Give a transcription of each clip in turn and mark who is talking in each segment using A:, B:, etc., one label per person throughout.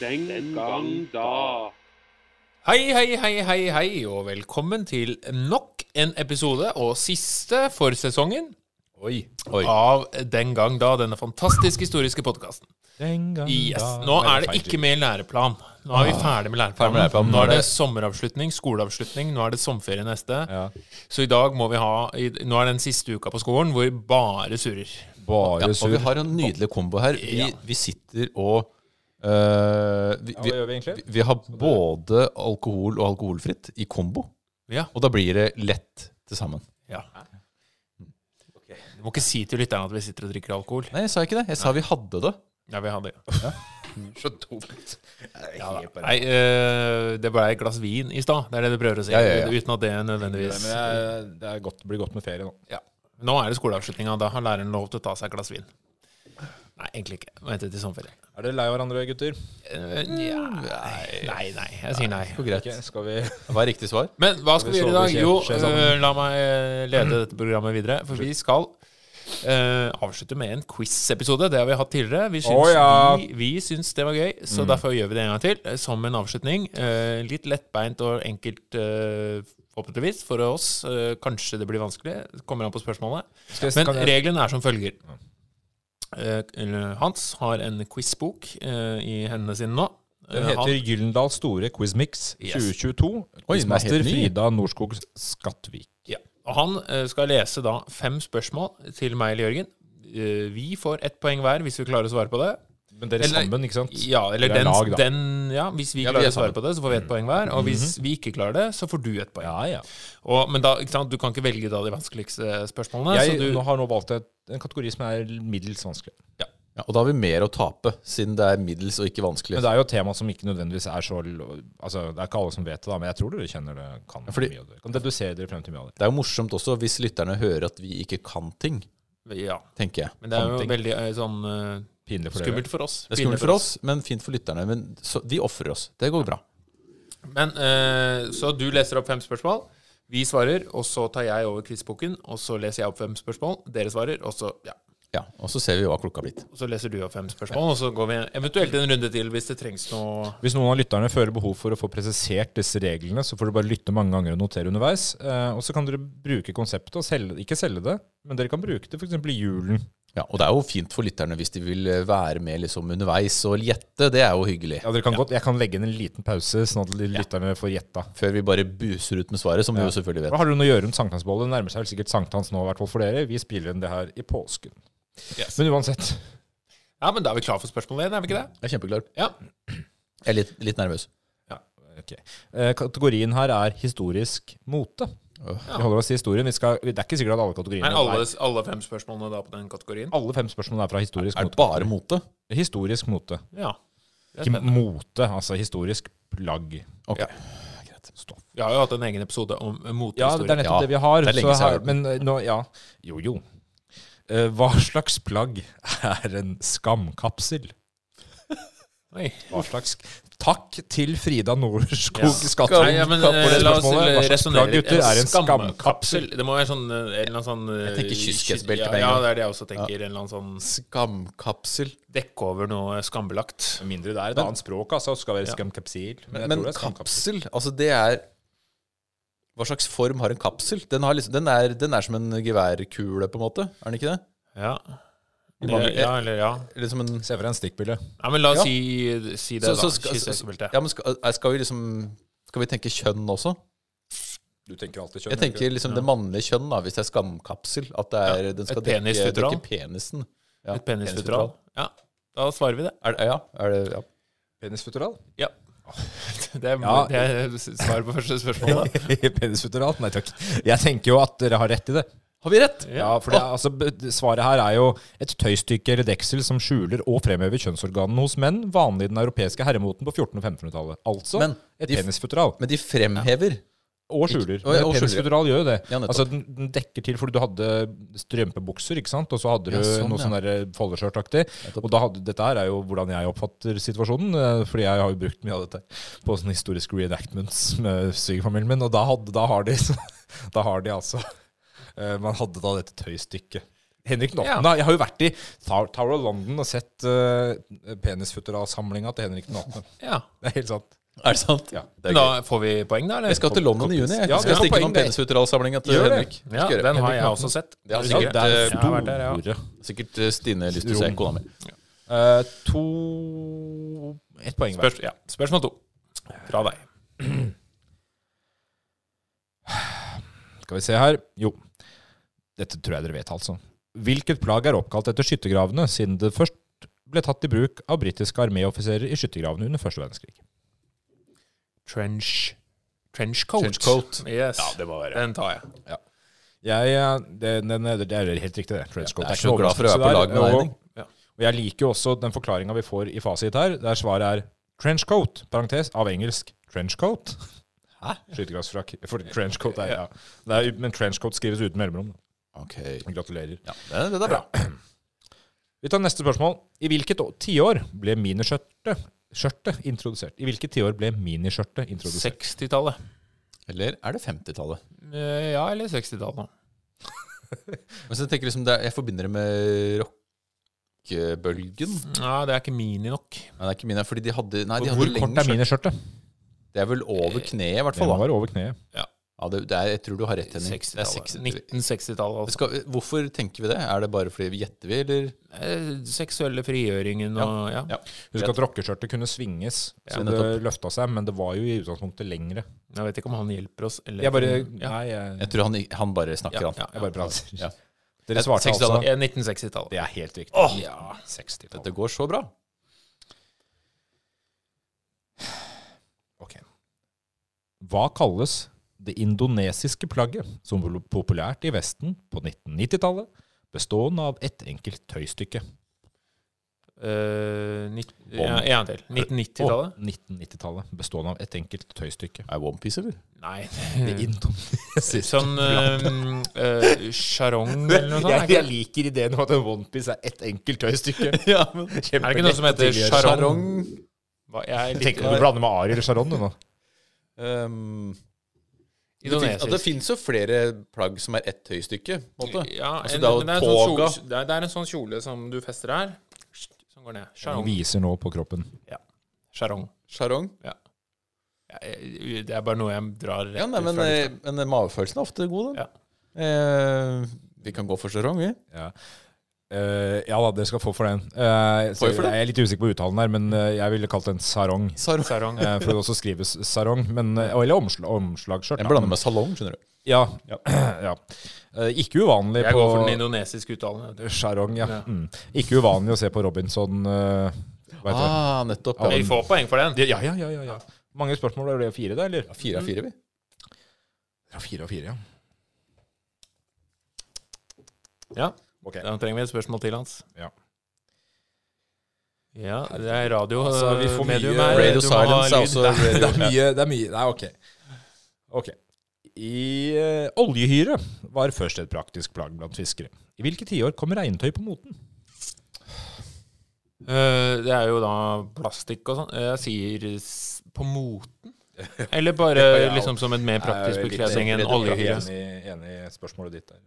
A: den gang da.
B: Hei, hei, hei, hei, hei, og velkommen til nok en episode, og siste for sesongen,
C: Oi. Ah.
B: av Den gang da, denne fantastisk historiske podkasten.
C: Den gang
B: Yes, Nå er det ikke mer læreplan. Nå er vi ferdig med læreplanen.
C: Ferdig med læreplanen.
B: Nå er det sommeravslutning, skoleavslutning, nå er det sommerferie neste.
C: Ja.
B: Så i dag må vi ha i- Nå er det den siste uka på skolen hvor vi bare surrer.
C: Bare
D: Ja,
C: sur.
D: og vi har en nydelig kombo her. Vi, vi sitter og øh, vi,
C: hva gjør vi egentlig?
D: vi, vi har både alkohol og alkoholfritt i kombo.
B: Ja.
D: Og da blir det lett til sammen.
B: Ja. Du må ikke si til lytterne at vi sitter og drikker alkohol.
D: Nei, jeg sa ikke det. Jeg sa vi hadde det.
B: Ja, vi har det.
C: Så dumt. Ja, da.
B: Nei, eh, det ble et glass vin i stad. Det er det du prøver å si.
D: Ja, ja, ja.
B: Uten at det
C: Nei,
B: nødvendigvis
C: men det er, det er godt, blir godt med ferie nå.
B: ja. Nå er det skoleavslutninga. Da har læreren lov til å ta seg et glass vin. Nei, egentlig ikke. Vente til sommerferie.
C: Er dere lei av hverandre, gutter?
B: Eh, nja, nei, nei, nei. Jeg sier nei.
D: Går greit.
C: Ok, skal vi
D: Hva er riktig svar?
B: Men hva skal vi
C: Skal vi
B: gjøre i dag?
C: sove-
B: Jo,
C: skje- skje sammen?
B: eh, la meg eh, lede dette programmet videre. For vi skal eh, avslutte med en quiz-episode. Det har vi hatt tidligere. Vi syns,
C: Å, ja. Mm.
B: vi, vi syns det var gøy, så derfor gjør vi det en gang til. eh, Som en avslutning. Eh, litt lettbeint og enkelt, eh, forhåpentligvis, for oss. Eh, kanskje det blir vanskelig. Kommer an på spørsmålet.
C: skal jeg,
B: Men
C: kan jeg,
B: regelen er som følger. Eh, eller Hans har en quizbok eh, i hendene sine nå.
C: Den
B: Eh,
C: heter
B: han-
C: Gyllendal Store Quizmix
B: Yes.
C: 2022.
D: Oi, den er helt
C: Quizmaster
D: ny.
C: Frida Norskog Skattvik.
B: Ja. Og han eh, skal lese da fem spørsmål til meg eller Jørgen. Eh, vi får ett poeng hver hvis vi klarer å svare på det.
C: Men dere
B: Eller-
C: sammen, ikke sant?
B: Ja, eller
C: Vi er
B: den,
C: lag, da.
B: den Ja, hvis vi
D: Ja, vi
B: klarer
D: er
B: å svare
D: sammen.
B: på det, så får vi ett poeng hver. Og hvis vi ikke klarer det, så får du ett poeng.
C: Mm. Mhm. ja. ja.
B: Og, men da, ikke sant, du kan ikke velge da de vanskeligste spørsmålene.
C: Jeg
B: så du,
C: nå har nå valgt et, en kategori som er middels vanskelig.
D: Ja, og da har vi mer å tape, siden det er middels og ikke vanskelig.
C: Men det er jo et tema som ikke nødvendigvis er så l- Altså, det er ikke alle som vet det, da, men jeg tror dere kjenner det kan
D: fordi-
C: mye av det. Kan dedusere dere frem til mye av det.
D: Det er jo morsomt også hvis lytterne hører at vi ikke kan ting,
B: ja.
D: tenker jeg.
B: Men det er jo
C: Something.
B: veldig eh, sånn eh,
C: Pinlig for
B: skummelt for oss.
D: Det er
B: Pinlig
D: skummelt for oss, men fint for lytterne. Men så, de ofrer oss. Det går bra.
B: Men, eh, så du leser opp fem spørsmål. Vi svarer, og så tar jeg over quizboken, og så leser jeg opp fem spørsmål. Dere svarer, og så ja.
D: Ja, Og så ser vi hva klokka har blitt.
B: Og så leser du opp fem spørsmål, og så går vi eventuelt en runde til hvis det trengs noe.
C: dere. Hvis noen av lytterne føler behov for å få presisert disse reglene, så får dere bare lytte mange ganger og notere underveis. Eh, og så kan dere bruke konseptet og selge Ikke selge det, men dere kan bruke det f.eks. i julen.
D: Ja, Og det er jo fint for lytterne hvis de vil eh, være med liksom underveis og gjette. Det er jo hyggelig.
C: Ja, dere kan godt, jeg kan legge inn en liten pause, sånn at lytterne får gjetta.
D: Før vi bare buser ut med svaret, som vi jo selvfølgelig
C: Hva
D: vet.
C: har du noe å gjøre rundt sankthansbollet? Det nærmer seg vel sikkert sankthans nå, i hvert fall for dere. Vi spiller inn det her i påsken.
B: Yes.
C: Men uansett.
B: Ja, men da er vi klar for spørsmål én, er vi ikke det?
D: Jeg er kjempeklar.
B: Ja.
D: Jeg er litt, litt nervøs.
C: ok. Eh, Kategorien her er historisk mote. Vi holder oss til historien. Vi skal, det er ikke sikkert at alle kategoriene
B: Er alle, alle fem spørsmålene da på den kategorien?
C: alle fem spørsmålene er fra historisk
D: Er
C: mote.
D: det bare mote?
C: Historisk mote.
B: Ja. Det er
C: Ikke
B: spennende.
C: mote, altså historisk plagg.
D: Ok.
C: Stoff.
B: Vi har jo hatt en egen episode om eh,
C: Ja, det er
B: motehistorie.
C: nettopp
D: Ja,
C: det vi har.
D: det er lenge
C: så
D: siden jeg har
C: her,
D: hørt
C: men eh, nå, ja. Jo, jo. Eh, hva slags plagg er en skamkapsel?
B: Oi.
C: Hva slags Takk til Frida Norskog
B: Ja.
C: Skattvik
B: Nei, ja, men
C: for
B: eh,
C: det
B: la oss
C: spørsmålet. Hva slags
B: resonnere.
C: plagg, gutter, er en skamkapsel.
B: Det må være sånn eh, en eller annen sånn eh,
D: Jeg tenker kyskhetsbelte
B: kyss-
D: med en
B: Ja,
D: gang.
B: det er det jeg også tenker. En eller annen sånn
D: Skamkapsel.
B: dekke over noe skambelagt.
C: Mindre det er et
D: Men-
C: annet språk, altså. Skal være skamkapsil. Men, jeg
D: Men
C: tror det er skamkapsel.
D: kapsel, altså det er Hva slags form har en kapsel? Den, har liksom, den, er, den er som en geværkule, på en måte. Er den ikke det?
B: Ja.
D: mangler-
B: Ja, eller ja.
D: Eller som en
C: Se for deg en stikkbille.
B: Nei, men la oss
D: Ja.
B: si, si det,
D: Så- så
B: da.
D: skal-
B: Kyssebelte.
D: Ja, men skal, er- skal vi liksom Skal vi tenke kjønn også?
C: Du tenker alltid
D: Jeg tenker liksom det mannlige kjønn, da, hvis det er skamkapsel. At det er, den skal
B: et
D: dekke,
B: penisfutteral.
D: dekke penisen. Ja,
B: Et penisfutteral. Ja, da svarer vi det.
D: Er, det- ja, er det ja.
C: Penisfutteral?
B: Ja. Det er,
C: Ja.
B: det er svaret på første spørsmål. da.
C: Penisfutteral? Nei takk. Jeg tenker jo at dere har rett i det.
D: Har vi rett?
C: Ja, for det, er- altså, b- Svaret her er jo et tøystykke eller deksel som skjuler og fremhever kjønnsorganene hos menn, vanlig i den europeiske herremoten på 1400- og 1500-tallet. Altså
D: Men
C: et
D: de f-
C: penisfutteral.
D: Men de fremhever.
C: Og skjuler.
D: Å, ja, og
C: Men Penisfutteral gjør jo det.
D: Ja, nettopp.
C: altså, den, den dekker til fordi du hadde strømpebukser, ikke sant? og så hadde du
D: Ja, sånn,
C: noe
D: ja.
C: sånn der foldeskjørtaktig. Og da hadde, dette her er jo hvordan jeg oppfatter situasjonen, eh, fordi jeg har jo brukt mye av dette på sånne historiske reenactments med svigerfamilien min, og da, hadde, da har de så- Da har de altså eh, Man hadde da dette tøystykket. Henrik den 8.
B: Ja.
C: Da. Jeg har jo vært i Tow- Tower of London og sett uh, penisfutteralsamlinga til Henrik den 8.
B: Ja.
C: Det er helt sant.
D: Er det sant?
C: Ja.
D: Det er
B: da
D: gøy.
B: får vi poeng, da? Eller?
D: Jeg skal til London i juni. Jeg
C: Ja, det
D: skal
C: er
D: stikke
C: poeng,
D: noen
C: det.
D: penisfutteralsamlinga til
C: Gjør det.
D: Henrik.
B: Ja,
D: Skal gjøre.
B: den har
C: Henrik
B: jeg
C: Natten.
B: også sett.
D: Det er
B: Er du
D: sikkert-
B: sikker?
D: Eh, det er
B: Ja, jeg har vært der, ja.
D: Sikkert eh, Stine lyst til å se
C: Rom.
D: kona mi.
C: Eh, to Ett poeng hver.
B: Spørs, ja. Spørsmål to fra deg.
C: Skal vi se her. Jo, dette tror jeg dere vet, altså. Hvilket plagg er oppkalt etter skyttergravene, siden det først ble tatt i bruk av britiske arméoffiserer i skyttergravene under første verdenskrig?
B: Trench Trenchcoat.
D: Trenchcoat.
B: Yes.
D: det må være.
B: Den tar jeg.
C: Jeg, eh, det, den, er- det er helt riktig, det. Trenchcoat.
D: Jeg er
C: Det
D: så
C: ikke noe
D: glad for å være på
C: overraskelse
D: lag med deg,
C: der.
D: Henning.
B: Ja.
C: Og jeg liker jo også den forklaringa vi får i fasit her, der svaret er trenchcoat, parentes, av engelsk trenchcoat.
D: Hæ?
C: Skyttergravsfrakk. For trenchcoat er, ja. Det er, men trenchcoat skrives uten mellomrom.
D: Ok.
C: Gratulerer.
D: Ja, det, det er bra.
C: Vi tar neste spørsmål. I hvilket å- tiår ble miniskjørtet skjørtet introdusert? I hvilket tiår ble miniskjørtet introdusert?
B: 60-tallet.
D: Eller er det 50-tallet?
B: Eh, Ja, eller 60-tallet.
D: Men så tenker jeg liksom det er, Jeg forbinder det med rockebølgen.
B: Ja, det er ikke mini nok.
D: Men det er ikke mine, fordi de hadde Nei, de
C: Hvor
D: hadde
C: kort
D: lengre
C: er
D: skjørt.
C: miniskjørtet?
D: Det er vel over kneet, i hvert
C: Det
D: fall.
C: må
D: da.
C: være over kneet.
D: Ja, det, det er, jeg tror du har rett, Henning. Det er
B: 60-tallet.
D: 60
B: 1960-tallet, altså.
D: Skal, vi- hvorfor tenker vi det? Er det bare fordi vi gjetter, vi, eller?
B: Eh, Seksuelle frigjøringen og ja.
D: Ja.
C: Husk at rockeskjørtet kunne svinges, så
D: Ja,
C: det
D: nettopp.
C: løfta seg, men det var jo i utgangspunktet lengre.
B: Jeg vet ikke om han hjelper oss. Eller
C: Jeg bare
B: ja.
C: Nei, jeg,
D: Jeg tror han, han bare snakker,
B: Ja,
D: han.
B: ja,
C: jeg bare prater.
D: Ja.
C: Dere svarte altså
D: 60-tallet.
B: Ja, 1960-tallet.
C: Det er helt riktig.
B: Ja.
C: 60-tallet.
D: Dette går så bra.
C: Ok. Hva kalles det indonesiske plagget som ble populært i Vesten på 1990-tallet, bestående av ett enkelt tøystykke?
B: Eh, nitt-
D: Om-
B: ja, en gang til. 1990-tallet?
C: Og 1990-tallet, bestående av ett enkelt tøystykke. Eh.
D: Er Onepiece, eller?
B: Nei.
C: Det indonesiske
B: Sånn ehm, eh, sjarong eller noe sånt? er
C: jeg,
B: ikke-
C: jeg liker ideen om at en onepiece er ett enkelt tøystykke.
D: Ja, men
B: Er det ikke noe som heter sjarong?
D: Sjarong
B: Hva- Jeg er
C: Jeg
B: litt
C: tenker du blander med Ari eller Sharon du, nå.
B: Ehm,
D: um, det, finnes, ja, det
B: indonesisk.
D: finnes jo flere plagg som er ett høystykke. på en måte.
B: Ja,
D: Altså,
B: en,
D: det er
B: men
D: jo
B: det, er en sånn
D: toga.
B: kjole, det, er, det er en sånn kjole som du fester her, som går ned.
C: Han
B: Sjarong.
C: viser nå på kroppen.
B: Sjarong.
D: Sjarong.
B: Jeg- Det er bare noe jeg drar rett
D: Ja, nei,
B: ut
D: men,
B: fra lufta.
D: eh, men magefølelsen er ofte god, den.
B: Ja.
D: Eh, vi kan gå for sjarong, vi.
C: Ja. Eh, ja da, dere skal få for den. Eh,
D: Får
C: så
D: jeg for den?
C: jeg er litt usikker på uttalen her, men eh, jeg ville kalt den sarong.
D: Sarong.
B: Sarong.
C: Eh, for det også skrives sarong, men, eh, eller omsl omslagsskjørt.
D: Jeg
C: da.
D: blander med salong, skjønner du.
C: Ja. ja. Eh, ikke uvanlig
B: Jeg
C: på
B: går for den indonesiske uttalen.
C: Sarong, ja.
B: Ja.
C: Mm. Ikke uvanlig å se på Robinson. eh, hva heter det?
D: Ah, nettopp.
B: Vi
D: Ja.
B: får poeng for den.
C: Ja, ja, ja, ja, ja. Mange spørsmål, er det fire da, eller?
D: Fire av fire, vi.
C: Ja, fire og fire, ja.
B: Ja,
C: Ok.
B: Da trenger vi et spørsmål til, Hans.
C: Ja.
B: Ja, det er radio. eh,
C: Altså, vi får
B: medium
C: mye-
B: her.
D: Radio
B: Du må ha
D: silence er
B: lyd.
D: også-
C: Det er, det er mye, det er mye. Nei, ok. Ok. I eh, oljehyre var først et praktisk plagg blant fiskere. I hvilke tiår kom regntøy på moten?
B: Eh, det er jo da plastikk og sånn. Jeg sier s- på moten. Eller bare
C: Ja,
B: liksom som en mer praktisk bekledning enn oljehyre.
C: Enig, enig i spørsmålet ditt der.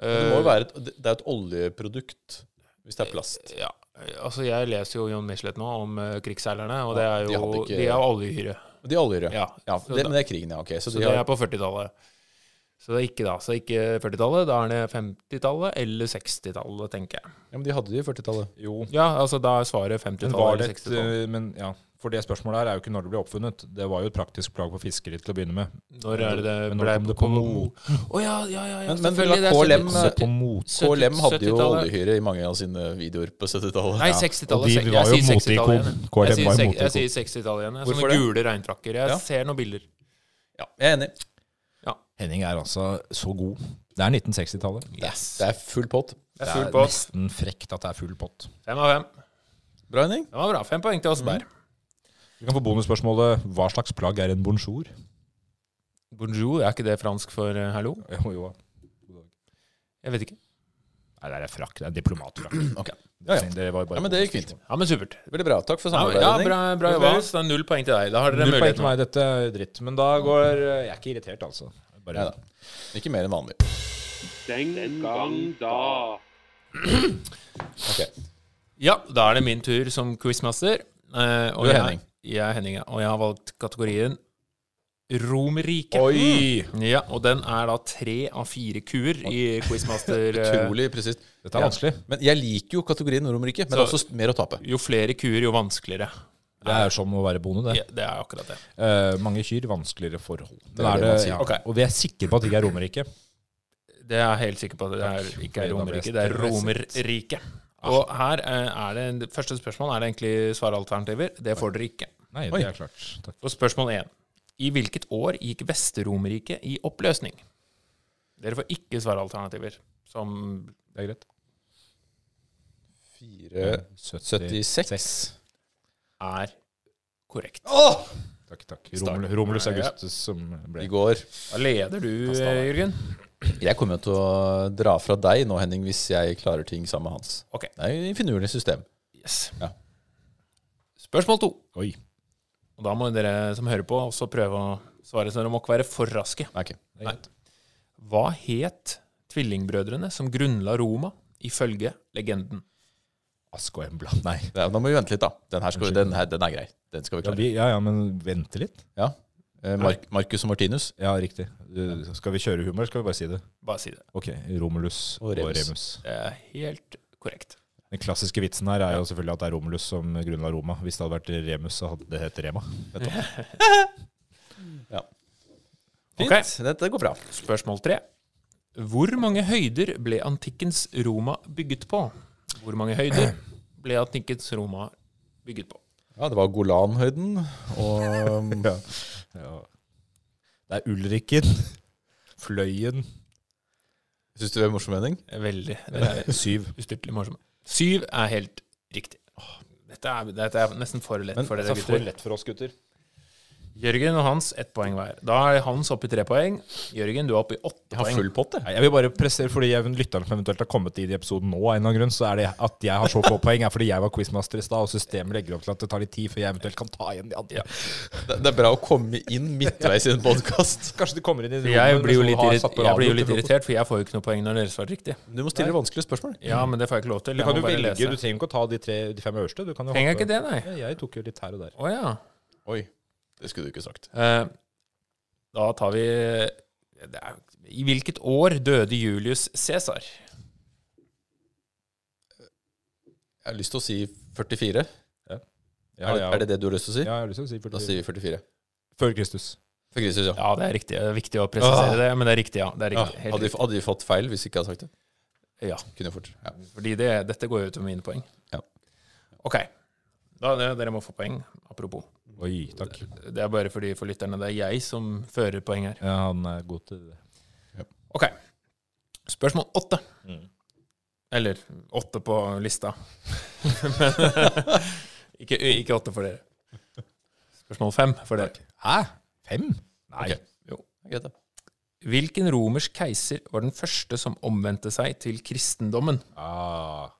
D: Det må jo
B: Eh,
D: være et, det er et oljeprodukt, hvis det er plast.
B: ja, altså Jeg leser jo John Michelet nå om eh, krigsseilerne, og det er
D: de hadde
B: jo
D: ikke-
B: De er oljehyre.
D: De er oljehyre.
B: Ja.
D: Ja,
B: Så
D: det,
B: da-
D: men det er krigen, ja. ok. Så
B: Så
D: de
B: det er
D: har,
B: på 40-tallet. Så det er ikke da. Så ikke 40-tallet. Da er det 50-tallet eller 60-tallet, tenker jeg.
D: ja, men de hadde de i 40-tallet.
C: Jo,
B: Ja, altså da er svaret
C: men var
B: 50-tallet eller
C: det et
B: 60-tallet.
C: eh, Men ja, for det spørsmålet her er jo ikke når det ble oppfunnet. Det var jo et praktisk plagg for fiskere til å begynne med.
D: eh,
B: Når er det det
C: Men når
B: ble
C: kom det på
B: på Å ja, ja, ja. ja
D: Men- men
B: selvfølgelig,
D: det var
B: det er
D: KLM,
B: 70-
D: Men-
C: Se på mot.
B: sytti-
D: KLM hadde jo
B: 70-tallet.
D: oljehyre i mange av sine videoer på 70-tallet.
B: Nei,
D: Ja.
B: 60-tallet.
C: Og de
B: Jeg
C: var jo
B: sier 60-tallet
C: moteikon.
B: igjen, jeg.
C: KLM
B: Jeg sier
C: var jo
B: sek- Jeg
C: moteikon.
B: sier 60-tallet igjen. jeg.
D: Hvorfor
B: Sånne
D: det?
B: gule regnfrakker. Jeg
D: Ja.
B: ser noen bilder.
D: Ja, jeg er enig.
C: Henning er altså så god. Det er 1960-tallet.
B: Yes.
D: Det er full pott.
B: Det
C: Det
B: er full
C: er
B: pott.
C: nesten frekt at det er full pott.
B: Fem av fem.
D: Bra, Henning.
B: Det var bra. Fem poeng til oss der.
C: Vi kan få bonusspørsmålet Hva slags plagg er en bonjour?
D: Mm.
B: Bonjour, er ikke det fransk for eh, hallo?
C: Jo, jo.
B: Jeg vet ikke.
C: Nei, det er frakk. Det er diplomatfrakk.
B: Mm,
D: Ok.
C: Det, det var bare
D: Ja, men det gikk fint.
B: Ja, men supert.
D: Veldig bra. Takk for
B: Ja,
D: samarbeidet,
B: ja
D: Henning.
B: bra, bra jobba. Så det er null poeng til deg. Da har dere
C: Null poeng
B: mulighet
C: til
B: nå.
C: meg. Dette eh, er dritt. Men da går Jeg er ikke irritert, altså. Bare,
D: Neida. Ikke mer enn vanlig.
A: Den gang da.
B: Ja, da er det min tur som quizmaster. Eh, og
D: Du er
B: jeg-
D: Henning.
B: Jeg er Henning, ja. Og jeg har valgt kategorien Romerriket.
D: Oi!
B: Ja, og den er da tre av fire kuer i quizmaster. eh,
D: Utrolig presist.
C: Dette er
D: Ja.
C: vanskelig.
D: Men jeg liker jo kategorien Romerike, men det er
B: Så-
D: også mer å tape.
B: Jo flere kuer, jo vanskeligere.
C: Det er som å være bonde, det.
B: Ja, det er akkurat det.
C: Eh, mange kyr, vanskeligere forhold. Men
D: er
C: er
D: det
C: det,
D: man sier.
C: ja.
B: Ok.
C: Og vi er sikre på at det ikke er Romerike.
B: Det er jeg helt sikker på at det er, ikke er
C: Da ble jeg
B: Romerriket, det er Romerriket. Og her eh, er det en, første spørsmål er det egentlig svaralternativer. Det får dere ikke.
C: Nei,
D: Oi.
C: det er klart. Takk.
B: Så spørsmål én. I hvilket år gikk Vest-Romerriket i oppløsning? Dere får ikke svaralternativer. Som
C: Det er greit. Eh,
D: 476.
B: er korrekt.
D: Åh!
C: Takk, takk. Romul, Romulus Augustus som ble
D: I går.
B: Da leder du,
C: Fast da,
B: eh,
C: da.
B: Jørgen.
D: Jeg kommer jo til å dra fra deg nå, Henning, hvis jeg klarer ting sammen med Hans.
B: Ok.
D: Det er jo et finurlig system.
B: Yes.
D: Ja.
B: Spørsmål to.
C: Oi.
B: Og da må dere som hører på, også prøve å svare, så dere må ikke være for raske.
D: Ok.
C: Det er greit.
B: Hva het tvillingbrødrene som grunnla Roma, ifølge legenden?
C: Ask og Embla. Nei.
D: Ja, da må vi vente litt, da. Den, her skal,
C: Unnskyld.
D: den, her, den er grei. Den skal vi
C: Ja,
D: klare.
C: vi, ja, ja, men vente litt.
D: Ja. Eh, Mark, Marcus og Martinus.
C: Ja, riktig. Du, skal vi kjøre humor, eller skal vi bare si det?
B: Bare si det.
C: Ok, Romulus
D: Og
C: og
D: Remus.
C: Remus.
B: Det er helt korrekt.
C: Den klassiske vitsen her er jo selvfølgelig at det er Romulus som grunnla Roma. Hvis det hadde vært Remus, så hadde det hett Rema.
D: Fint.
B: Ok.
D: Dette går bra.
B: Spørsmål tre. Hvor mange høyder ble antikkens Roma bygget på? Hvor mange høyder ble antikkens Roma bygget på?
D: Ja, det var Golanhøyden og um,
C: Ja. ja. Det er Ulriken, Fløyen
D: Syns du det var en morsom mening?
B: Veldig. Det er
C: Syv.
B: ustyrtelig morsomt. Syv er helt riktig. Åh, Dette er, dette er nesten for lett for
D: altså,
B: dere, gutter.
C: lett altså, for oss, gutter.
B: Jørgen og Hans ett poeng hver. Da er Hans oppe i tre poeng. Jørgen, du er oppe i åtte
D: Jeg har
B: poeng.
D: full pott, jeg.
C: Nei, Jeg vil bare prestere, fordi jeg, lytterne som eventuelt har kommet i de episoden nå, av en eller annen grunn, så er det at jeg har så få poeng, er fordi jeg var quizmaster i stad, og systemet legger opp til at det tar litt tid før jeg eventuelt kan ta igjen de andre.
D: Det, det er bra å komme inn midtveis i en podkast.
C: Kanskje du kommer inn i
B: Jeg
C: rommet
B: blir jo
C: som
B: litt,
C: har
B: irrit
C: satt på
B: jeg blir jo
C: radio
B: litt
C: til frokost.
B: irritert, for jeg får jo ikke noe poeng når dere svarer riktig.
D: Du må stille vanskelige spørsmål.
B: Ja, men det får jeg ikke lov til.
C: Du
B: Jeg
C: kan
B: må
C: jo
B: bare
C: velge, du
B: lese.
C: trenger ikke å ta de, tre, de fem øverste. Du kan jo
B: Trenger jeg
C: hoppe-
B: ikke det, nei?
C: Ja, Jeg tok jo litt her og der.
B: Å ja.
D: Oi. Det skulle du ikke sagt.
B: Eh, Da tar vi det er, I hvilket år døde Julius Cæsar?
D: Jeg har lyst til å si 44.
C: Ja,
D: er, det,
C: ja.
D: er det det du har lyst til å si?
C: Ja, jeg har lyst til å si
D: Da
C: 40.
D: sier vi 44.
C: Før Kristus.
D: For Kristus, ja.
B: Ja, det er riktig. Det er viktig å presisere
D: Åh.
B: det, men det er riktig, ja. Det er
D: Ah. ja.
B: riktig. Helt
D: Hadde, vi,
B: riktig.
D: hadde vi fått feil hvis vi ikke hadde sagt det?
B: Ja.
D: Kunne fort. Ja.
B: Fordi det, dette går jo utover mine poeng.
D: Ja.
B: Ok. Da, det- dere må få poeng, apropos.
C: Oi, takk.
B: Det er bare fordi for lytterne det er jeg som fører poeng her.
C: Ja, han er god til det.
B: Ok. Spørsmål åtte.
C: Mm.
B: Eller åtte på lista. Men ikke, ikke åtte for dere. Spørsmål fem for dere.
C: Hæ? Fem? Nei.
D: Ok. Greit, da.
B: Hvilken romersk keiser var den første som omvendte seg til kristendommen?
C: Ah.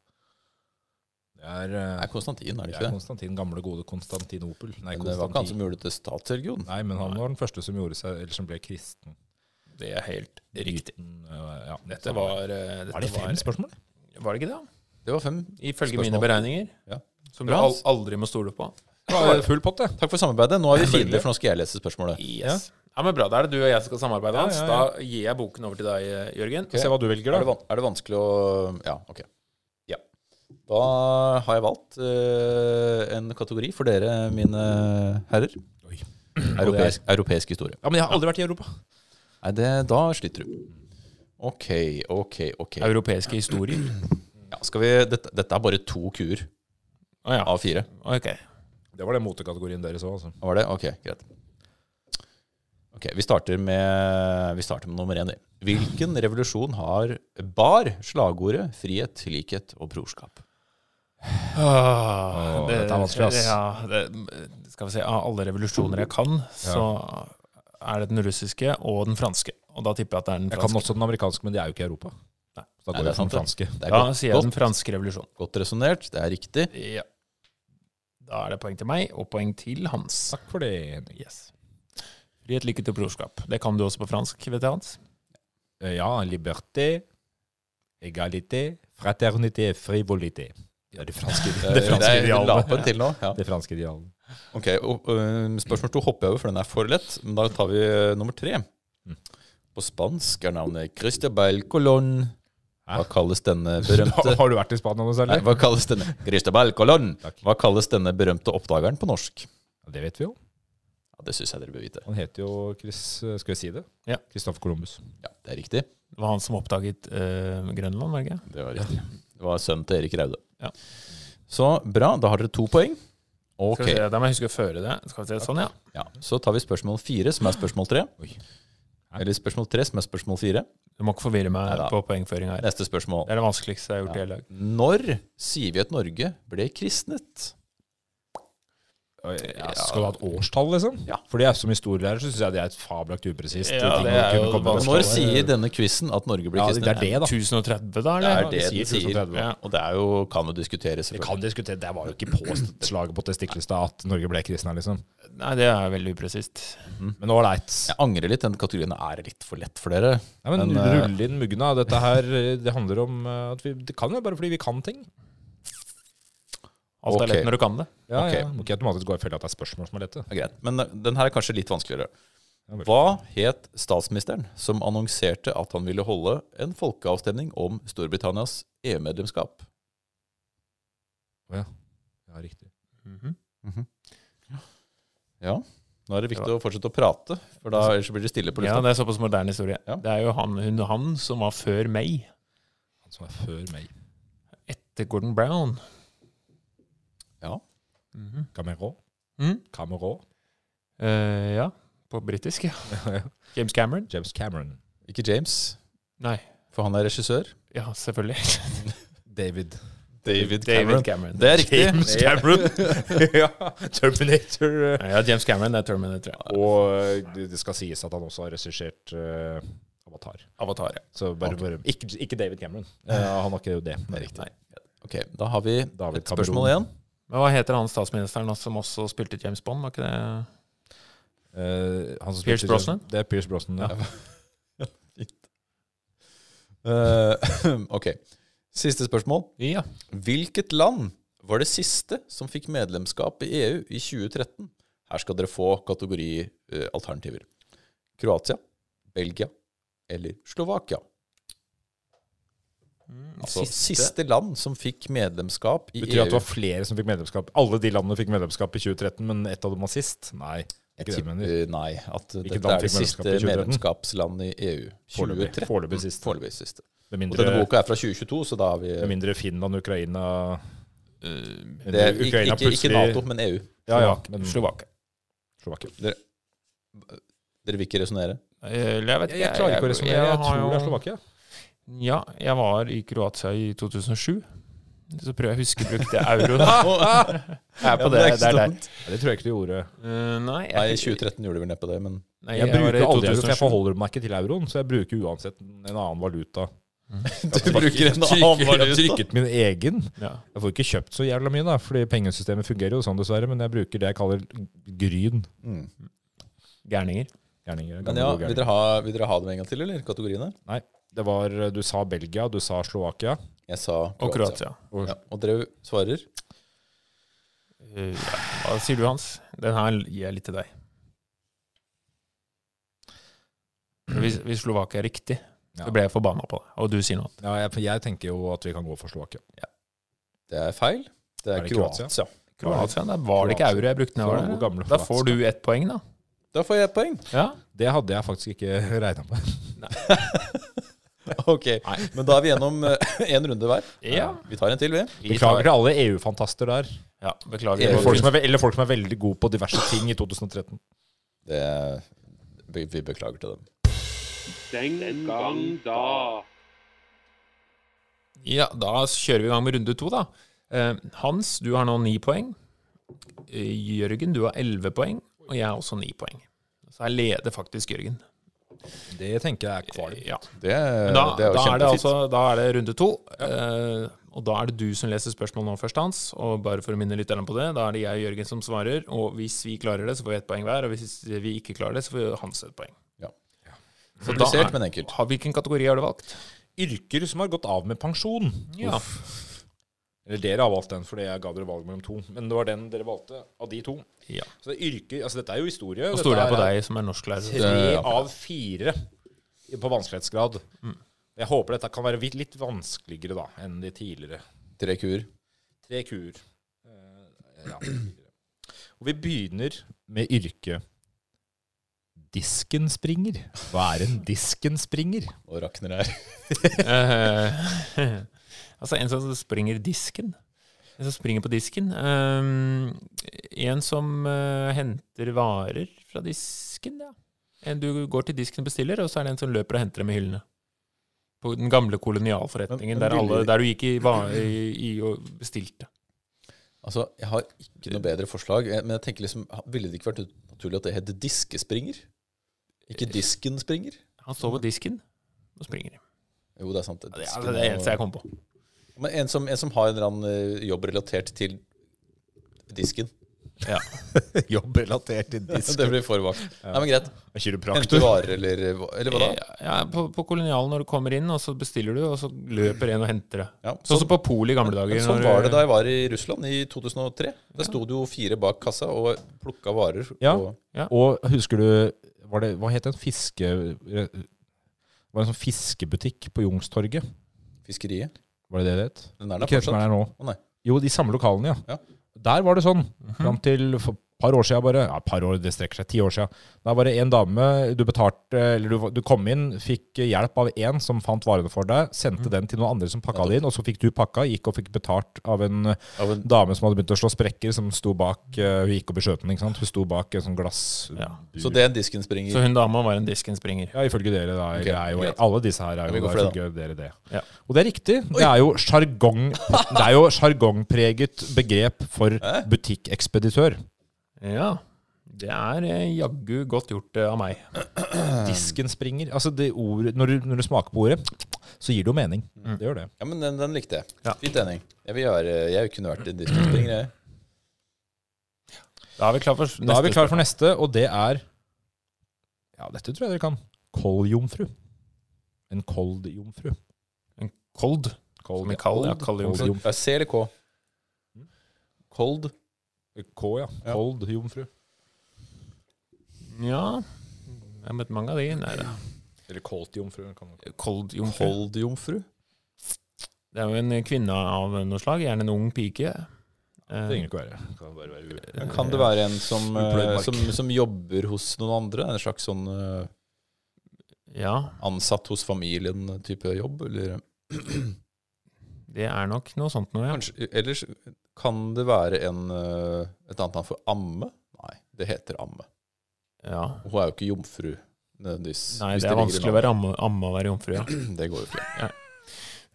C: Det er,
D: Det
C: eh,
D: er Konstantin, er det
C: det
D: ikke
C: er
D: det?
C: Konstantin, gamle gode Konstantinopel. Nei,
D: Men det var ikke han
C: Konstantin.
D: som gjorde det til statsreligion.
C: Nei, men han var den første som gjorde seg, eller som ble kristen.
B: Det er helt riktig.
C: Mm, øh, Ja,
B: Dette var eh, dette
C: Var det fem spørsmål?
B: Var, var det ikke det?
D: Det var fem.
B: Ifølge
D: Spørsmål.
B: mine beregninger.
D: Ja.
B: Som du
D: Bra,
B: al
D: ass.
B: aldri må stole på.
C: Ja, full pott, det.
D: Takk for samarbeidet. Nå er vi
C: Selvfølgelig.
D: fiender, for nå skal jeg lese spørsmålet.
B: Yes. Ja. men Bra. Da er det du og jeg som skal samarbeide,
C: Ja,
B: Hans.
C: ja, ja.
B: Da gir jeg boken over til deg, eh, Jørgen.
C: Se hva du velger,
D: Er det,
C: da.
D: van- er det vanskelig å Ja, ok. Ja. Da har jeg valgt eh, en kategori for dere, mine herrer.
C: Oi.
D: Europeisk, europeisk historie.
C: Ja, Men jeg har aldri vært i Europa.
D: Nei, det, da sliter du. Ok, ok, ok.
B: Europeiske historier.
D: Ja, skal vi, dette, dette er bare to kuer
B: Å ja.
D: av fire.
B: Ok.
C: Det var den motekategorien deres òg, altså.
D: Var det? Ok, greit. Ok, Vi starter med, vi starter med nummer én. vi. Hvilken revolusjon har bar slagordet 'frihet, likhet og brorskap'?
B: Åh,
C: Åh, dette er vanskelig, ass.
B: Ja, det, skal vi se, Av alle revolusjoner jeg kan, så er det den russiske og den franske. Og da tipper jeg at det er den
C: Jeg kan
B: franske.
C: også den amerikanske, men det er jo ikke i Europa.
B: Nei.
C: Så da går
D: Nei, det er
C: jeg for
D: sant,
C: den franske.
D: Det er
B: Da
D: godt,
B: sier jeg den franske revolusjonen.
D: godt resonnert, det er riktig.
B: Ja. Da er det poeng til meg, og poeng til Hans.
C: Takk for det, Henning.
B: Yes. Frihet, likhet og brorskap. Det kan du også på fransk, vet jeg, Hans.
C: Eh, Ja, liberté, Egalité, fraternité, frivolité. Ja, det franske,
D: Det
C: det franske
D: er lapen
C: idealet.
D: til nå. Ja.
C: Det franske idealet.
D: Ok, og, øh, Spørsmål to hopper jeg over, for den er for lett. Men da tar vi øh, nummer tre.
C: Mm.
D: På spansk er navnet Cristobal Colón. Hva
C: Hæ?
D: kalles
C: Da,
D: denne berømte
C: har du vært i Spania noe
D: Nei,
C: særlig?
D: hva kalles denne Cristobal Colón?
C: Takk.
D: Hva kalles denne berømte oppdageren på norsk?
C: Ja, Det vet vi jo.
D: Ja, det syns jeg dere bør vite.
C: Han heter jo Chris, eh, skal vi si det?
B: Ja.
C: Kristoffer Columbus.
D: Ja, Det er riktig.
B: Det var han som oppdaget eh, Grønland, var det ikke?
D: Det var riktig. Det var sønnen til Erik Raude.
B: Ja.
D: Så bra, da har dere to poeng.
B: Skal
D: Ok,
B: vi se, Da må jeg huske å føre det. Skal vi se, sånn, ja.
D: ja. Så tar vi spørsmål fire, som er spørsmål tre. Eller spørsmål tre, som er spørsmål fire.
B: Du må ikke forvirre meg
D: Neida.
B: på poengføring her.
D: Neste spørsmål.
B: Det er det vanskeligste jeg har gjort i hele dag.
D: Når sier vi at Norge ble kristnet?
C: Ja, skal du ha et årstall, liksom?
D: Ja.
C: Fordi jeg, som historielærer så syns jeg det er et fabelaktig upresist.
B: Ja,
C: ting
B: det
C: å
B: er
C: kunne
B: jo
C: komme med.
B: vanskelig.
D: Når sier denne quizen at Norge ble
C: ja,
D: kristnet?
C: Det er det, da.
B: 1030, da?
D: Det
B: Eller?
D: er det
C: sier
D: den sier.
C: 1030, da.
B: Ja.
D: Og det er jo, kan jo diskuteres,
C: Vi kan
D: selvfølgelig.
C: diskutere, Det var jo ikke på slaget på Testiklestad at Norge ble kristne, liksom.
B: Nei, det er veldig upresist.
C: Men ålreit.
D: Jeg angrer litt. Den kategorien er litt for lett for dere.
C: Nei, men,
D: Men, eh,
C: rulle inn mugna. Dette her eh, det handler om eh, at vi Det kan jo bare fordi vi kan ting.
B: Alt
D: Ok.
B: er lett når du kan det.
C: Ja,
D: Ok.
C: ja. Må ikke automatisk gå i fella at det er spørsmål som er lette.
D: Det er greit. Men eh, den her er kanskje litt vanskeligere.
C: Ja, vel.
D: Hva het statsministeren som annonserte at han ville holde en folkeavstemning om Storbritannias EU-medlemskap?
C: Ja, riktig.
D: Ja, nå er det viktig å fortsette å prate, for da ellers blir det stille på
B: Ja,
D: lufta.
B: Det er såpass moderne historie.
D: Ja.
B: Det er jo han, hun, han som var før meg.
C: Han som er før meg.
B: Etter Gordon Brown.
D: Ja.
B: Mhm.
C: Cameron.
B: Mhm.
C: Cameron.
B: Eh, ja, på britisk, ja.
C: Ja.
B: James Cameron?
C: James Cameron.
D: Ikke James,
B: Nei.
D: for han er regissør.
B: Ja, selvfølgelig.
C: David.
D: David
B: David
D: Cameron.
B: Cameron.
D: Det er riktig.
C: James Cameron. ja. Terminator. eh.
B: Ja, James Cameron det er Terminator. ja.
C: Og eh, det det skal sies at han også har regissert eh, Avatar.
B: Avatar, ja.
C: Så bare, bare ikke, ikke David Cameron. Eh, han har ikke det.
D: Det er riktig.
B: Nei.
D: Ok, da har vi
C: David
D: et spørsmål igjen.
B: Men hva heter han statsministeren også, som også spilte James Bond? Var ikke det
C: Eh, han som
B: Pierce
C: spilte-
B: Brosnan?
C: Det er Pierce Brosnan, ja.
D: Eh, ok, siste spørsmål.
B: Ja.
D: Hvilket land var det siste som fikk medlemskap i EU i 2013? Her skal dere få kategorialternativer. Kroatia, Belgia eller Slovakia.
B: Mm,
D: Altså siste. land som fikk medlemskap i E
C: Betyr det at det
D: EU.
C: var flere som fikk medlemskap? Alle de landene fikk medlemskap i 2013, men ett av dem var sist? Nei.
D: Jeg
C: ikke det,
D: tipper-
C: mener
D: Nei, at
C: Hvilket
D: dette
C: land
D: er det
C: fikk medlemskap
D: siste
C: i 2013?
D: medlemskapslandet i E EU.
C: Foreløpig.
D: 2013.
C: Foreløpig siste.
D: Mm, Foreløpig siste.
C: Med
D: Og
C: mindre,
D: denne boka er fra 2022, så da har vi
C: med mindre Finland, Ukraina
D: Eh, det er, ikke,
C: Ukraina
D: ikke, ikke
C: plutselig- Mm.
D: Nato, men E EU.
C: Ja, ja.
B: Slovak-
C: Men,
B: Slovakia.
C: Slovakia.
D: Dere vil ikke resonnere?
B: Eh, Eller jeg vet
C: Jeg, jeg klarer ikke å resonnere. Jeg
B: har
C: tror det er
B: jo-
C: Slovakia.
B: Ja, jeg var i Kroatia i 2007. Så prøver jeg å huske brukte euro. da. Jeg er på
D: Ja, men
B: det,
D: er ikke
B: det
D: så
B: er der.
D: dumt.
C: Ja, det tror jeg ikke du gjorde.
B: Eh, nei, jeg,
D: Nei, i 2013 gjorde vi neppe det, men
B: nei,
C: Jeg, bruker
B: var i
C: aldri euro, for jeg
B: 2007.
C: forholder meg ikke til euroen, så jeg bruker uansett en annen valuta.
D: Du bruker
C: Trykker-
D: en annen
C: Jeg har
D: valuta.
C: trykket min egen.
B: Ja.
C: Jeg får ikke kjøpt så jævla mye, da, fordi pengesystemet fungerer jo sånn, dessverre. Men jeg bruker det jeg kaller gryn.
D: Mm.
B: Gærninger.
C: Gjerninger.
D: Men
C: gamle
D: ja,
C: gode
D: vil
C: gjerninger.
D: dere, ha, vil dere ha dem en gang til, eller? Kategoriene?
C: Nei, det var Du sa Belgia, du sa Slovakia.
D: Jeg sa
B: Og
C: altså.
D: Kroatia.
B: Kroatia.
D: Ja, og dere svarer?
B: Eh, ja. Hva sier du, Hans? Den her gir jeg litt til deg. Hvis, hvis Slovakia er riktig,
C: Ja.
B: så ble jeg forbanna på deg. Og du sier noe annet.
C: Ja, jeg, jeg tenker jo at vi kan gå for Slovakia.
D: Det er feil. Det er,
C: Er det
D: Kroatia?
C: Kroatia?
B: Kroatia, der var det ikke
C: Kroatia.
B: euro jeg brukte.
C: Så hvor
B: Når jeg var
C: gamle
B: der. Da får du ett poeng, da.
D: Da får jeg et poeng.
B: Ja.
C: Det hadde jeg faktisk ikke regna med.
D: Ok, Men da er vi gjennom én runde hver.
B: Ja.
D: Vi tar en til, vi.
B: Vi
C: Beklager
B: tar-
C: til alle EU-fantaster der.
B: Ja, beklager.
D: EU.
C: Eller folk, som er, ve- eller folk som er veldig gode på diverse ting i 2013.
D: Det, vi, vi beklager til dem.
A: Den gang da.
B: Ja, da kjører vi i gang med runde to, da. Eh, Hans, du har nå ni poeng. Eh, Jørgen, du har elleve poeng. Og jeg har også ni poeng. Så her leder faktisk Jørgen.
C: Det tenker jeg er kvalm.
B: Ja.
D: Det,
B: Men da,
D: Eh, det er
B: da, er det
D: jo kjempefint.
B: altså, da er det runde to. Eh, og da er det du som leser spørsmål nå først, Hans. Og bare for å minne lytterne på det, da er det jeg og Jørgen som svarer. Og hvis vi klarer det, så får vi ett poeng hver. Og hvis vi ikke klarer det, så får Hans et poeng.
D: Ja.
B: Så da
D: Komplisert,
B: er,
D: men enkelt.
B: har, hvilken kategori har du valgt?
C: Eh, Yrker som har gått av med pensjon.
B: Ja.
C: Uff. Eller dere har valgt den, fordi jeg ga dere valg mellom to. Men det var den dere valgte av de to.
B: Ja.
C: Så det er yrker, altså dette er jo historie.
B: Nå
C: dette
B: stoler jeg på
C: er-
B: deg som er norsklærer.
C: Tre
D: Det-
C: av fire i- på vanskelighetsgrad. Jeg håper dette kan være vidt- litt vanskeligere da, enn de tidligere.
D: Tre kuer.
C: Tre kuer. Eh, ja. Og vi begynner med yrket diskenspringer. Hva er en diskenspringer?
D: Og rakner her.
B: Eh, altså, en som springer disken. En som springer på disken. Eh, en som eh, henter varer fra disken, ja. En du går til disken og bestiller, og så er det en som løper og henter dem i hyllene. På den gamle kolonialforretningen
D: Men- men
B: der, alle,
D: billigere.
B: der du gikk i, va- i, i og bestilte.
D: Altså, jeg har ikke noe bedre forslag, eh, men jeg tenker liksom, ha- ville det ikke vært ut- naturlig at det het diskespringer? Ikke diskenspringer?
B: Han står på disken og springer.
D: Jo, det er sant.
B: Ja, Det er det er det eneste jeg kom på.
D: Men en som, en som har en eller annen eh, jobb relatert til disken.
C: Jobb relatert til
D: Det blir for vagt. Nei, men greit. Hente
C: Kiropraktor.
D: varer, eller, eh, hva- eller hva da?
B: Ja, på, på kolonialen når du kommer inn, og så bestiller du, og så løper en og henter det.
D: Ja,
B: Sånn som på polet i gamle dager.
D: Men sånn
B: når-
D: var det da jeg var i Russland i 2003. Der sto det jo fire bak kassa og plukka varer.
C: Ja.
D: Og
C: Og husker du var det, Hva het den fiske... Det var en sånn fiskebutikk på Jungstorget.
D: fiskeriet.
C: Var det det det het?
D: Den er der
C: Ikke den som er der
D: fortsatt.
C: nå.
D: Å, nei.
C: Jo, de samme lokalene, ja.
D: Ja. Mhm.
C: Der var det sånn. Fram til for et par år siden bare. Ja, et par år, det strekker seg. Ti år siden. Da var det en dame du betalte Eller du, du kom inn, fikk hjelp av en som fant varene for deg, sendte
D: Mhm.
C: den til noen andre som pakka det inn, og så fikk du pakka, gikk og fikk betalt av en
D: Av en,
C: dame som hadde begynt å slå sprekker, som sto bak eh, Hun gikk opp i skjøten, ikke sant. Hun sto bak en sånn glass...
B: Ja.
D: så det er en disken
B: Så
D: springer.
B: hun dama var en diskenspringer.
C: Ja, ifølge dere. Da,
D: Ok,
C: er jo,
D: greit.
C: alle disse her er
D: vi
C: jo da,
D: går for det,
C: ifølge dere det.
B: Ja.
C: Og det er riktig. Det er jo jargong- det er jo sjargongpreget begrep for butikkekspeditør.
B: Ja. Det er eh, jaggu godt gjort eh, av meg.
D: Eh.
C: Disken springer. Altså det ordet, når, du, når du smaker på ordet, så gir det jo mening. Det gjør det.
D: Ja, Mm. men den, den likte jeg.
B: Ja.
D: Fint enig. Jeg, vil gjøre, jeg kunne vært en disken springer, jeg.
B: Da er vi klar for neste.
C: Da er vi klar for neste, og det er Ja, dette tror jeg dere kan. Kolljomfru. En koldjomfru.
B: Kold.
C: Kold,
B: Som i kald, ja, kalljomfru.
C: Koldjom-
D: Det er C eller K?
B: Mm.
D: Cold.
C: Eh, K, ja.
D: Ja.
C: Koldjomfru.
B: Ja. Jeg har møtt mange av de. Nei, det er
C: Eller koldjomfru. kan man-
B: kold jomfru.
D: Coldjomfru?
B: Det er jo en kvinne av noe slag. Gjerne en ung pike.
C: Det
B: Eh,
C: trenger ikke være. Det kan bare være u-
D: Kan det være en som, eh,
C: Upløyd mark.
D: som, som jobber hos noen andre? En slags sånn eh,
B: Eh, Ja.
D: ansatt hos familien-type jobb? Eller,
B: Det er nok noe sånt noe, ja.
D: kanskje, ellers kan det være en, eh, et annet navn for amme? Nei, det heter amme.
B: ja.
D: Hun er jo ikke jomfru. nødvendigvis.
B: Nei,
D: hvis
B: det er
D: ligger i
B: vanskelig å være amme, amme og være jomfru, ja.
D: navnet. Det går jo ikke.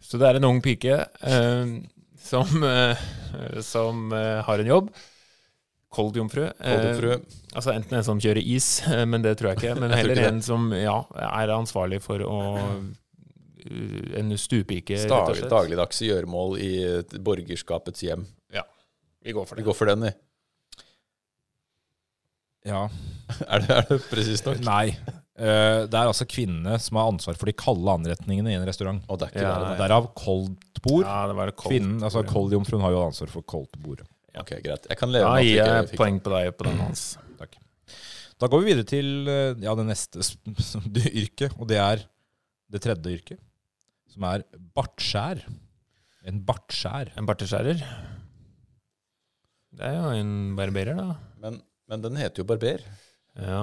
B: Så det er en ung pike eh, som, eh, som eh, har en jobb. Kold jomfru. eh,
D: Koldjomfru.
B: altså enten en som kjører is, eh, men det tror jeg ikke. Men
D: Jeg tror
B: heller
D: ikke
B: en som ja, er ansvarlig for å eh, En stuepike, rett og
D: Dag,
B: slett.
D: dagligdagse gjøremål i et borgerskapets hjem.
B: Vi går for
D: Vi
B: det.
D: går for den, vi.
C: Eh, Ja.
D: Er det, er det presist nok?
C: Nei. Eh, det er altså kvinnene som har ansvar for de kalde anretningene i en restaurant.
D: Å, det er ikke
B: Ja,
D: det, nei.
C: Derav koldt bord.
B: Ja, det var det kold.
C: Kvinnen, altså
B: ja.
C: Koldjomfruen har jo ansvar for koldt bord.
D: Ok, greit. Jeg kan leve
B: Da
D: med at vi
B: gir
D: ikke
B: jeg
D: fikk
B: poeng på deg og på den hans.
C: Da går vi videre til eh, ja, det neste s- s- det yrket, og det er det tredje yrket, som er bartskjær. En bartskjær.
B: En barteskjærer. Det er jo en barberer, da.
D: Men, men den heter jo barber.
B: Ja.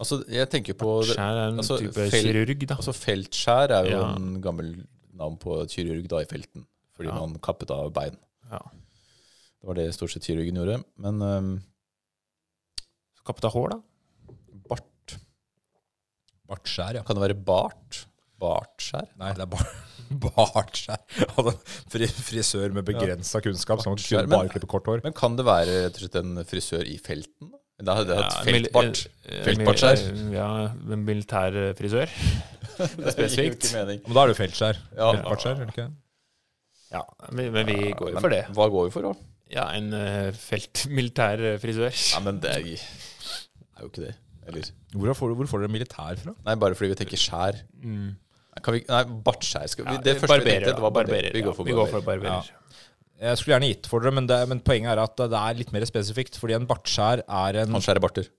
D: Altså, jeg tenker på
B: Skjær er en
D: altså,
B: type
D: fel-
B: kirurg, da.
D: altså Feltskjær er jo
B: Ja.
D: en gammel navn på kirurg da i felten, fordi
B: Ja.
D: man kappet av bein.
B: Ja.
D: Det var det stort sett kirurgen gjorde. Men øhm,
B: Kappet av hår, da.
D: bart
C: Bartskjær, ja.
D: Kan det være bart? Bartskjær?
C: Nei, det er bar bartskjær. Altså, fri frisør med begrensa kunnskap, som
D: Bartskjær,
C: kunne
D: men-
C: bare klippe kort hår.
D: Men kan det være rett og slett en frisør i felten? da? Det er, det er
B: Ja,
D: et
B: mil-
D: feltbart.
B: eh,
D: Feltbartskjær.
B: Ja, en militær eh, frisør.
D: Det gir jo ikke mening.
C: Men da er det jo feltskjær.
D: Ja.
C: Feltbartskjær, er det ikke det?
B: Ja, men, men vi går jo
D: Men
B: for det.
D: Hva går vi for, da?
B: Ja, en eh, feltmilitær eh, frisør.
D: Nei, men det er, er jo ikke det. Eller
C: Hvor får, du- hvor får dere militær fra?
D: Nei, bare fordi vi tenker skjær.
B: Mm.
D: Kan vi, nei, Bartskjær skal vi,
B: Ja,
D: Det første vi
B: barberer,
D: tenkte, det var
B: da.
D: barberer. Vi går for
B: ja. Vi går for
D: barberer.
B: barberer.
C: Jeg skulle gjerne gitt for dere, men, det, men poenget er at det er litt mer spesifikt. Fordi en bartskjær er en
D: Han skjærer barter.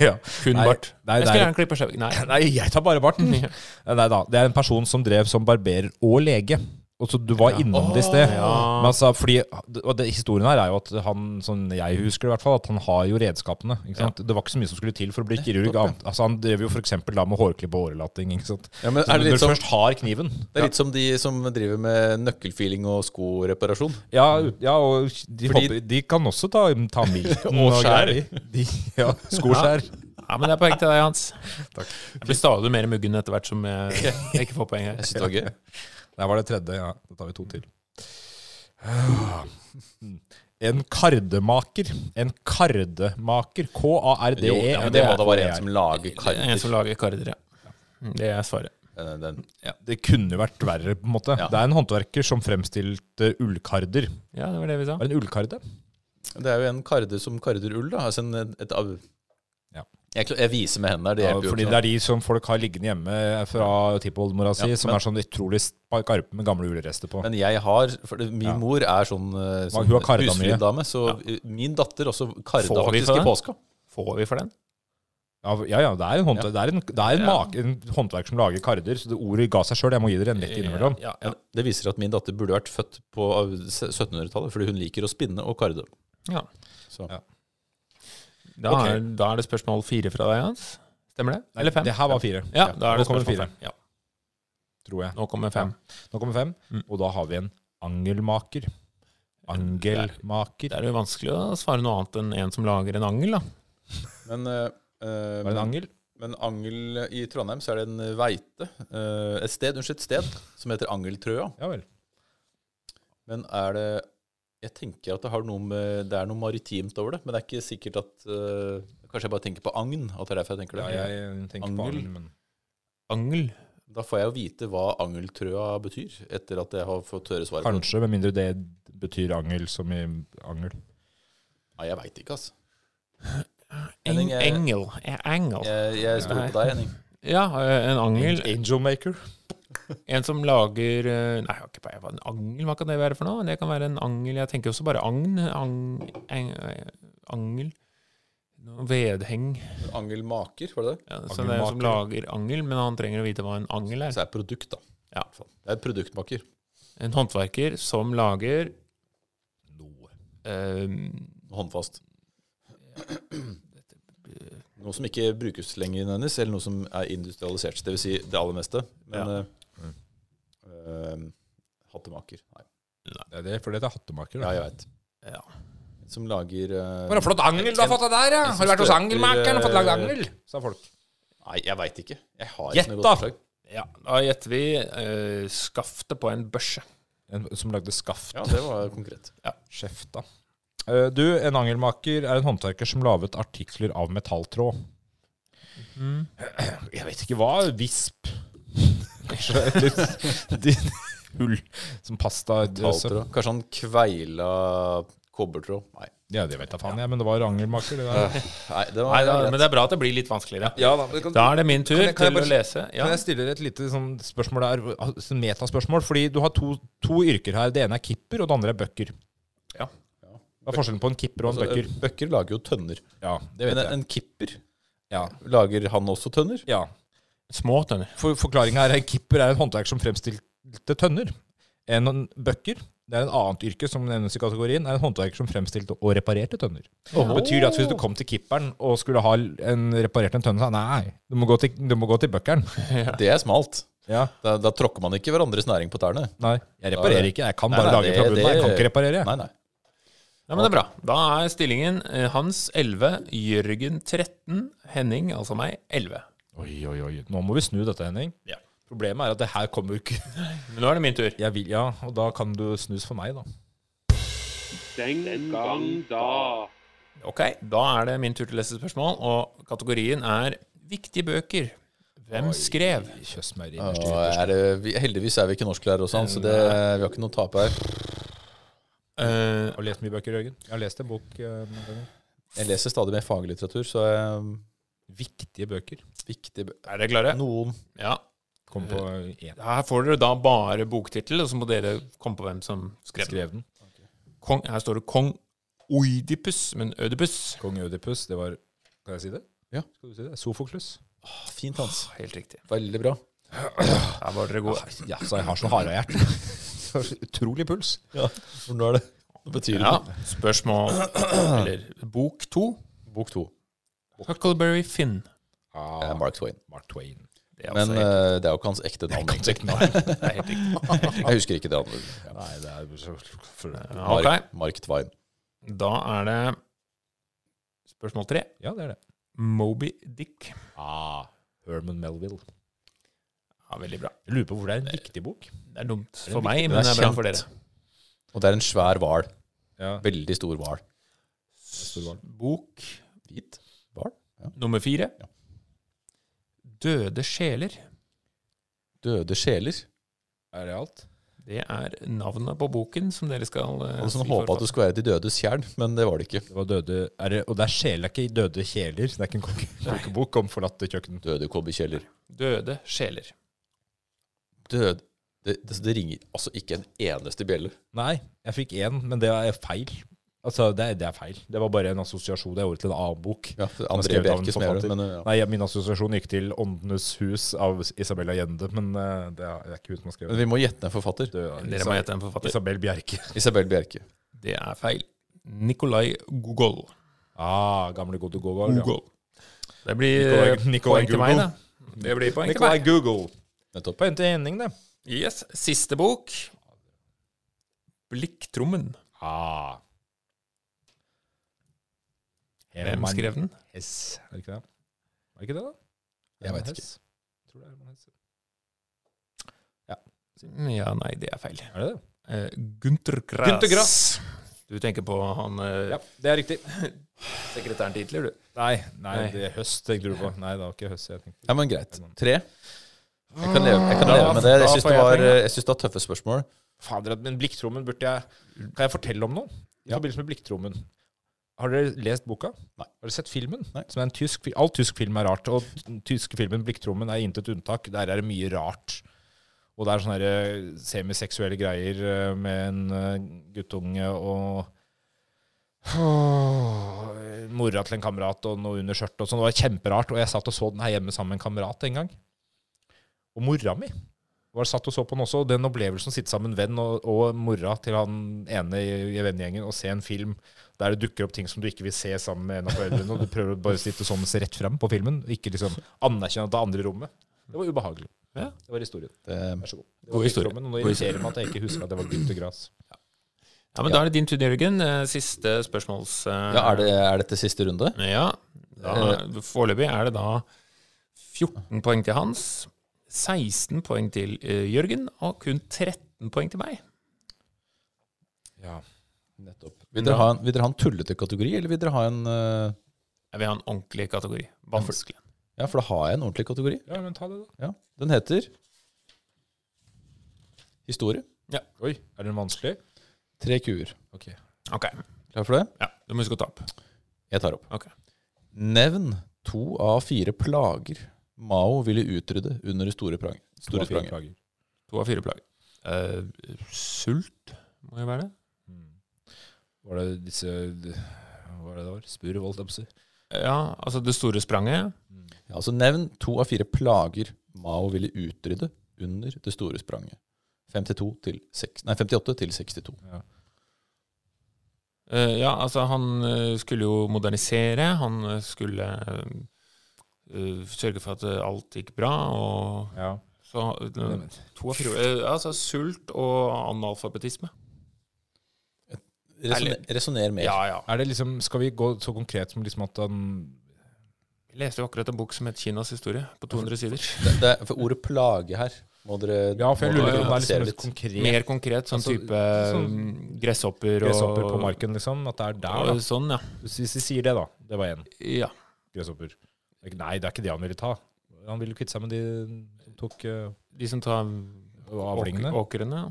C: ja.
B: Kun
C: Nei,
B: bart.
C: nei,
B: jeg
C: det
B: skulle
C: er-
B: gjerne klippe skjev... Nei.
C: Nei, jeg tar bare barten. Eh,
B: Ja.
C: Nei da. Det er en person som drev som barberer og lege. Og så Du var innom det i sted.
B: ja.
C: Men altså, fordi, og det, historien her er jo at han, sånn jeg husker det i hvert fall, at han har jo redskapene. Ikke sant? Det var ikke så mye som skulle til for å bli kirurg. annet- Altså, han drev jo f.eks. da med hårklipp og hårlatting. Ikke sant?
D: Ja, men
C: Så
D: er det litt
C: når du
D: som,
C: først har kniven
D: det er litt som de som driver med nøkkelfiling og skoreparasjon.
C: Ja, ut- ja og de,
D: Fordi-
C: hopper, de kan også ta, ta milten
D: Og skjær.
C: greier. De, ja, skoskjær.
B: Ja, men det er poeng til deg, Hans. Jeg blir stadig mer muggen etter hvert som jeg, jeg ikke får poeng her.
D: Jeg synes det var gøy.
C: Der var det tredje. Ja, da tar vi to til. En kardemaker. En kardemaker. K-a-r-d-e.
D: Jo, ja, men det må da være en som
B: Det
D: lager
B: er En
D: karter.
B: som lager karder, ja. Mm, Det er svaret.
D: Eh, Den- den-
C: Ja, det kunne jo vært verre, på en måte.
D: Ja.
C: Det er en håndverker som fremstilte ullkarder.
B: Ja, det var det vi sa.
C: Var det en ullkarde?
D: Det er jo en karde som karder ull, da. Altså en, et av...
C: Ja.
D: Jeg, kl- jeg viser med hendene her, det
C: Ja,
D: hjelper jo
C: fordi
D: ikke.
C: det er de som folk har liggende hjemme fra tippoldemora si,
D: Ja,
C: som
D: men-
C: er sånn utrolig skarpe med gamle ullrester på.
D: Men jeg har For det, min
C: Ja.
D: mor er sånn, eh, sånn
C: hun har karda mye.
D: husfriddame, så min datter også karda
B: Får vi
D: faktisk
B: for
D: i
B: det?
D: påska.
B: Får vi for den?
C: Ja, ja, ja, det er en, håndver Det er en, det er en,
D: Ja.
C: make- en håndverk som lager karder, så det ordet ga seg sjøl. Jeg må gi dere en litt innimellom.
B: Ja, ja.
D: Men Det viser at min datter burde vært født på av- 1700-tallet, fordi hun liker å spinne og karde.
B: Ja.
D: Så.
C: Ja.
B: Da, er, da er det spørsmål fire fra deg, Hans. Stemmer det? Eller fem?
C: Det her var fire,
B: Ja, da er det
C: Nå kommer
B: spørsmål
C: fire.
B: fem. Ja,
C: tror jeg.
B: nå kommer fem.
C: Nå kommer fem,
B: Mm.
C: og da har vi en angelmaker. Angelmaker.
B: Det er jo vanskelig å svare noe annet enn en som lager en angel, da.
D: Men, eh, eh,
C: Var det en angel?
D: men angel i Trondheim så er det en veite, eh, et sted, unnskyld, et sted som heter Angeltrøa.
C: Ja vel.
D: Men er det Jeg tenker at det, har noe med, det er noe maritimt over det, men det er ikke sikkert at eh, Kanskje jeg bare tenker på agn, at det er derfor jeg tenker det.
C: Ja, jeg tenker på
D: Angel.
C: angel, men
B: Angel?
D: Da får jeg jo vite hva angeltrøa betyr, etter at jeg har fått høre svaret. på det.
C: kanskje, med mindre det betyr angel som i angel.
D: Nei, jeg veit ikke, altså.
B: Eng,
D: Henning, jeg-
B: engel. Eh, Engel.
D: Jeg, jeg stoler på deg, Henning.
B: Ja, eh, en angel.
C: Angelmaker.
B: En som lager eh, Nei, jeg har ikke peiling på en angel. Hva kan det være for noe? Det kan være en angel Jeg tenker også bare agn. Ang, eng, eh, angel. Noe vedheng.
D: Angelmaker, var det det?
B: Ja, så det er en som lager angel, men han trenger å vite hva en angel er.
D: Så er det produkt, da.
B: Ja.
D: Det er produktmaker.
B: En håndverker som lager
C: Noe.
B: eh,
D: Håndfast. Noe som ikke brukes lenger hennes, eller noe som er industrialisert. Det vil si det aller meste. Men eh, eh, hattemaker. Nei.
C: Det er det, for det heter hattemaker.
D: Ja,
C: Da.
D: jeg veit.
B: Ja.
D: Som lager eh,
C: Bare flott angel du har fått deg der, ja! Har du vært hos angelmakeren og fått lagd angel? Sa folk.
D: Nei, jeg veit ikke. Jeg har
C: Gjett,
D: ikke noe
C: da!
D: godt forslag.
B: Ja, da gjetter vi eh, skaftet på en børse.
C: En, som lagde skaft.
D: Ja, det var konkret.
C: Skjefta. Eh, Du, en angelmaker er en håndverker som laget artikler av metalltråd.
B: Mhm.
C: Jeg vet ikke hva. Visp. Kanskje et litt din hull som pasta
D: Taltråd. Kanskje han kveila kobbertråd. Nei.
C: Ja, det vet jeg faen jeg, men det var angelmaker. Det der.
D: Nei, det var
B: Nei, da,
D: greit.
B: men det er bra at det blir litt vanskeligere.
C: Ja, da, men kan,
B: Da er det min tur
C: Kan jeg- kan jeg
B: til
C: bare-
B: å lese. Ja.
C: Kan jeg stille deg et lite sånn spørsmål der, altså, metaspørsmål? Fordi du har to, to yrker her. Det ene er kipper, og det andre er bøkker.
B: Ja.
C: Hva er forskjellen på en kipper og en
D: Altså,
C: bøkker?
D: Bøkker lager jo tønner.
C: Ja, det
D: Men
C: vet
D: en,
C: jeg.
D: en kipper,
C: Ja.
D: lager han også tønner?
C: ja.
B: Små tønner.
C: For, Forklaringa er en kipper er en håndverker som fremstilte tønner. En en bøkker det er en annet yrke som nevnes i kategorien, er en håndverker som fremstilte og reparerte tønner. Det betyr det at hvis du kom til kipperen og skulle ha en, reparert en tønne, så sa han, nei, du må gå til, du må gå til bøkkeren.
D: Det er smalt.
C: Ja,
D: Da, da tråkker man ikke hverandres næring på tærne.
C: nei, jeg reparerer ikke, jeg kan bare
D: Nei, nei,
C: lage
D: det-
C: fra bunnen, jeg kan
D: det-
C: ikke reparere. jeg.
D: Nei, nei.
B: Ja, men det er bra. Da er stillingen eh, Hans 11, Jørgen 13, Henning, altså meg, 11.
C: Oi, oi, oi. Nå må vi snu dette, Henning.
B: Ja.
C: Problemet er at det her kommer jo ikke
B: Men nå er det min tur.
C: Jeg vil, ja, og da kan du snus for meg, da.
A: Den gang da.
B: Ok, Da er det min tur til å lese spørsmål, og kategorien er viktige bøker. Hvem skrev?
C: Kjøss meg
D: Og
C: innerst innerst.
D: er, det- vi, heldigvis er vi ikke norsklærere og sånn, så det, vi har ikke noe å tape her.
B: Eh,
C: Har du lest mye bøker, Jørgen? Jeg har lest en bok. eh, noen ganger.
D: Jeg leser stadig mer faglitteratur, så jeg,
C: Viktige bøker.
D: viktig bø-
B: er dere klare?
D: Noen
B: Ja.
C: Kom på én.
B: Her får dere da bare boktittel, og så må dere komme på hvem som skrev den.
C: Skrev den.
B: Kong, her står det Kong Oidipus, men Ødipus.
C: Kong Ødipus, det var Kan jeg si det?
D: Ja.
C: Skal du si det? Sofoklus.
D: Ah, Fint, Hans.
B: Helt riktig.
D: Veldig bra.
B: Her var dere gode.
C: Ja, så jeg har så harehjerte. Utrolig puls.
D: Ja, for nå er det Nå betyr det
B: Ja, spørsmål Eller bok to.
D: bok to.
B: Huckleberry Finn.
D: Eh,
C: Ah,
D: Mark Twain.
C: Mark Twain.
B: Det er
D: Men
B: også helt,
D: eh, det er jo ikke hans ekte navn.
B: det er helt riktig.
D: Jeg husker ikke det andre. Ja.
C: Nei, det er jo så for-
B: Ja, Ok,
D: Mark, Mark Twain.
B: da er det spørsmål tre.
C: Ja, det er det.
B: Moby Dick.
C: Ah, Herman Melville.
B: Ja, Veldig bra.
C: Jeg lurer på hvor det er en viktig bok.
B: Det er dumt
C: er
B: for
C: viktig.
B: meg,
D: Den
B: men det
D: er
B: er bra
D: kjent.
B: for dere.
D: Og det er en svær hval.
C: Ja.
D: Veldig stor hval.
C: hval.
B: Bok
D: Hvit hval?
B: nummer fire.
D: Ja.
B: Døde sjeler.
D: Døde sjeler.
C: Er det alt?
B: Det er navnet på boken som dere skal eh,
D: Jeg hadde sånn
B: si for
D: håpa at det skulle være De dødes tjern, men det var det ikke.
C: Det var døde er det, Og det er sjeler, ikke døde kjeler. Det er ikke en kokke- kokebok om forlatte kjøkken.
D: Døde kobberkjeller.
B: forfatteren. Døde sjeler.
D: Død det, det, det ringer altså ikke en eneste bjelle.
C: Nei, jeg fikk én, men det er feil. Altså, det er, det er feil. Det var bare en assosiasjon jeg gjorde til en annen bok.
D: Ja,
C: skrev
D: André
C: det av en
D: Bjerke som gjør det.
C: forfatter.
D: Men, eh, ja.
C: Nei, ja, min assosiasjon gikk til Åndenes hus av Isabel Allende, men eh, det er det er ikke hun som har skrevet det.
D: men vi må gjette en forfatter.
C: Det er
B: Dere må gjette en forfatter.
C: Isabel Bjerke.
D: Isabel Bjerke.
B: Det er feil. Nikolai Gogol.
C: Ah, gamle gode Gogol. ja.
B: Google. Det blir
C: Nikolai-
B: eh,
C: Nikolai
B: poeng til meg, da. Det blir poeng til
C: Nikolai
B: meg.
C: Google.
D: Nettopp.
C: Poeng til Henning, det.
B: Yes, Siste bok. Blikktrommen.
C: Ah.
B: Hvem skrev den?
C: Hess, er det ikke det? Er det ikke det, da?
D: Jeg
C: Herman
D: vet ikke.
C: Hess. Jeg Tror det er Herman Hess.
B: Ja, nei, det er feil.
C: Er det det?
B: Eh, Gunther Grass.
C: Günter
B: Du tenker på han eh,
C: Ja, det er riktig.
B: sekretæren til Hitler, du.
C: Nei, nei,
B: Nei.
C: det er høst, tenkte du på. Nei, det var ikke høst jeg tenkte sånn- på.
D: Ja, men greit. Tre. Jeg kan leve, jeg kan
C: Da-
D: leve med det.
C: da
D: Jeg syns
C: får
D: det,
C: jeg
D: var,
C: poeng, da.
D: jeg synes det var tøffe spørsmål.
C: Fader, at- men blikktrommen burde jeg Kan jeg fortelle om noe i
D: Ja.
C: forbindelse med blikktrommen? Har dere lest boka?
D: Nei.
C: Har dere sett filmen?
D: Nei.
C: Som er en tysk, fi- all tysk film er rart, og den tyske filmen 'Blikktrommen' er intet unntak. Der er det mye rart. Og det er sånne her, eh, semiseksuelle greier eh, med en eh, guttunge og Åh, mora til en kamerat og noe under skjørtet og sånn. Det var kjemperart. Og jeg satt og så den her hjemme sammen med en kamerat en gang. Og mora mi var satt og så på den også, og den opplevelsen å sitte sammen med en venn og, og mora til han ene i, i vennegjengen og se en film der det dukker opp ting som du ikke vil se sammen med en av foreldrene, og du prøver å bare sitte sånn og se rett frem på filmen, og ikke liksom anerkjenne at det er andre i rommet. Det var ubehagelig.
B: Ja.
C: Det var historien.
D: Det,
C: Vær så god. Det
B: God
C: var
B: historie.
C: filmrommet, og Nå
B: God historie.
C: irriterer det meg at jeg ikke husker at det var Gutter Gras.
B: Ja, men Da er det din tur, Jørgen. Eh, Siste spørsmåls... eh,
D: ja, er, det, er dette siste runde?
B: Ja. da- Foreløpig er det da 14 poeng til Hans, 16 poeng til eh, Jørgen og kun 13 poeng til meg.
C: Ja.
D: Nettopp. Vil dere, ha en, vil dere ha en tullete kategori, eller vil dere ha en eh,
B: Jeg vil ha en ordentlig kategori. Vanskelig.
D: Ja, for da har jeg en ordentlig kategori.
C: ja, men ta det da.
D: Ja, Den heter Historie.
C: Oi, er den vanskelig?
D: Tre kuer.
C: Ok.
B: Ok,
D: Klar for det?
B: ja, Du må huske å ta opp.
D: Jeg tar opp.
B: Ok.
D: Nevn to av fire plager Mao ville utrydde under det store, prang,
C: To
D: store
C: av fire
D: spranget.
C: plager.
B: To av fire plager. Eh, sult, må jo være det.
C: Mm. Var det disse... Hva var det det var? Spurv, holdt jeg på å si.
B: Ja, altså det store spranget.
D: Ja, altså Nevn to av fire plager Mao ville utrydde under det store spranget. 52 til 6, nei, 58 til 62.
B: Eh, ja, altså han eh, skulle jo modernisere, han eh, skulle eh, eh, sørge for at eh, alt gikk bra, og
C: Ja.
B: så eh, To av fire eh, Altså sult og analfabetisme.
D: Resonner, resonner mer.
B: Ja, ja.
C: Er det liksom, skal vi gå så konkret som liksom at han
B: Jeg leste jo akkurat en bok som het Kinas historie, på 200 sider.
D: Det, det er for ordet plage her må dere
C: Ja, for jeg
D: må
C: lurer
D: dere
C: på om det er liksom
D: problematisere
C: et
D: litt.
C: konkret
B: Mer konkret, sånn
C: Altså,
B: type mm,
C: sånn-
B: gresshopper og
C: gresshopper på marken, liksom. At det er der,
B: Ja,
C: da.
B: sånn, ja.
C: Hvis hvis vi sier det, da. Det var én
B: ja.
C: gresshopper. Det er ikke- Nei, det er ikke det han ville ta. Han ville kvitte seg med de som tok eh,
B: De som tar
C: avlingene.
B: åk- åkrene. ja.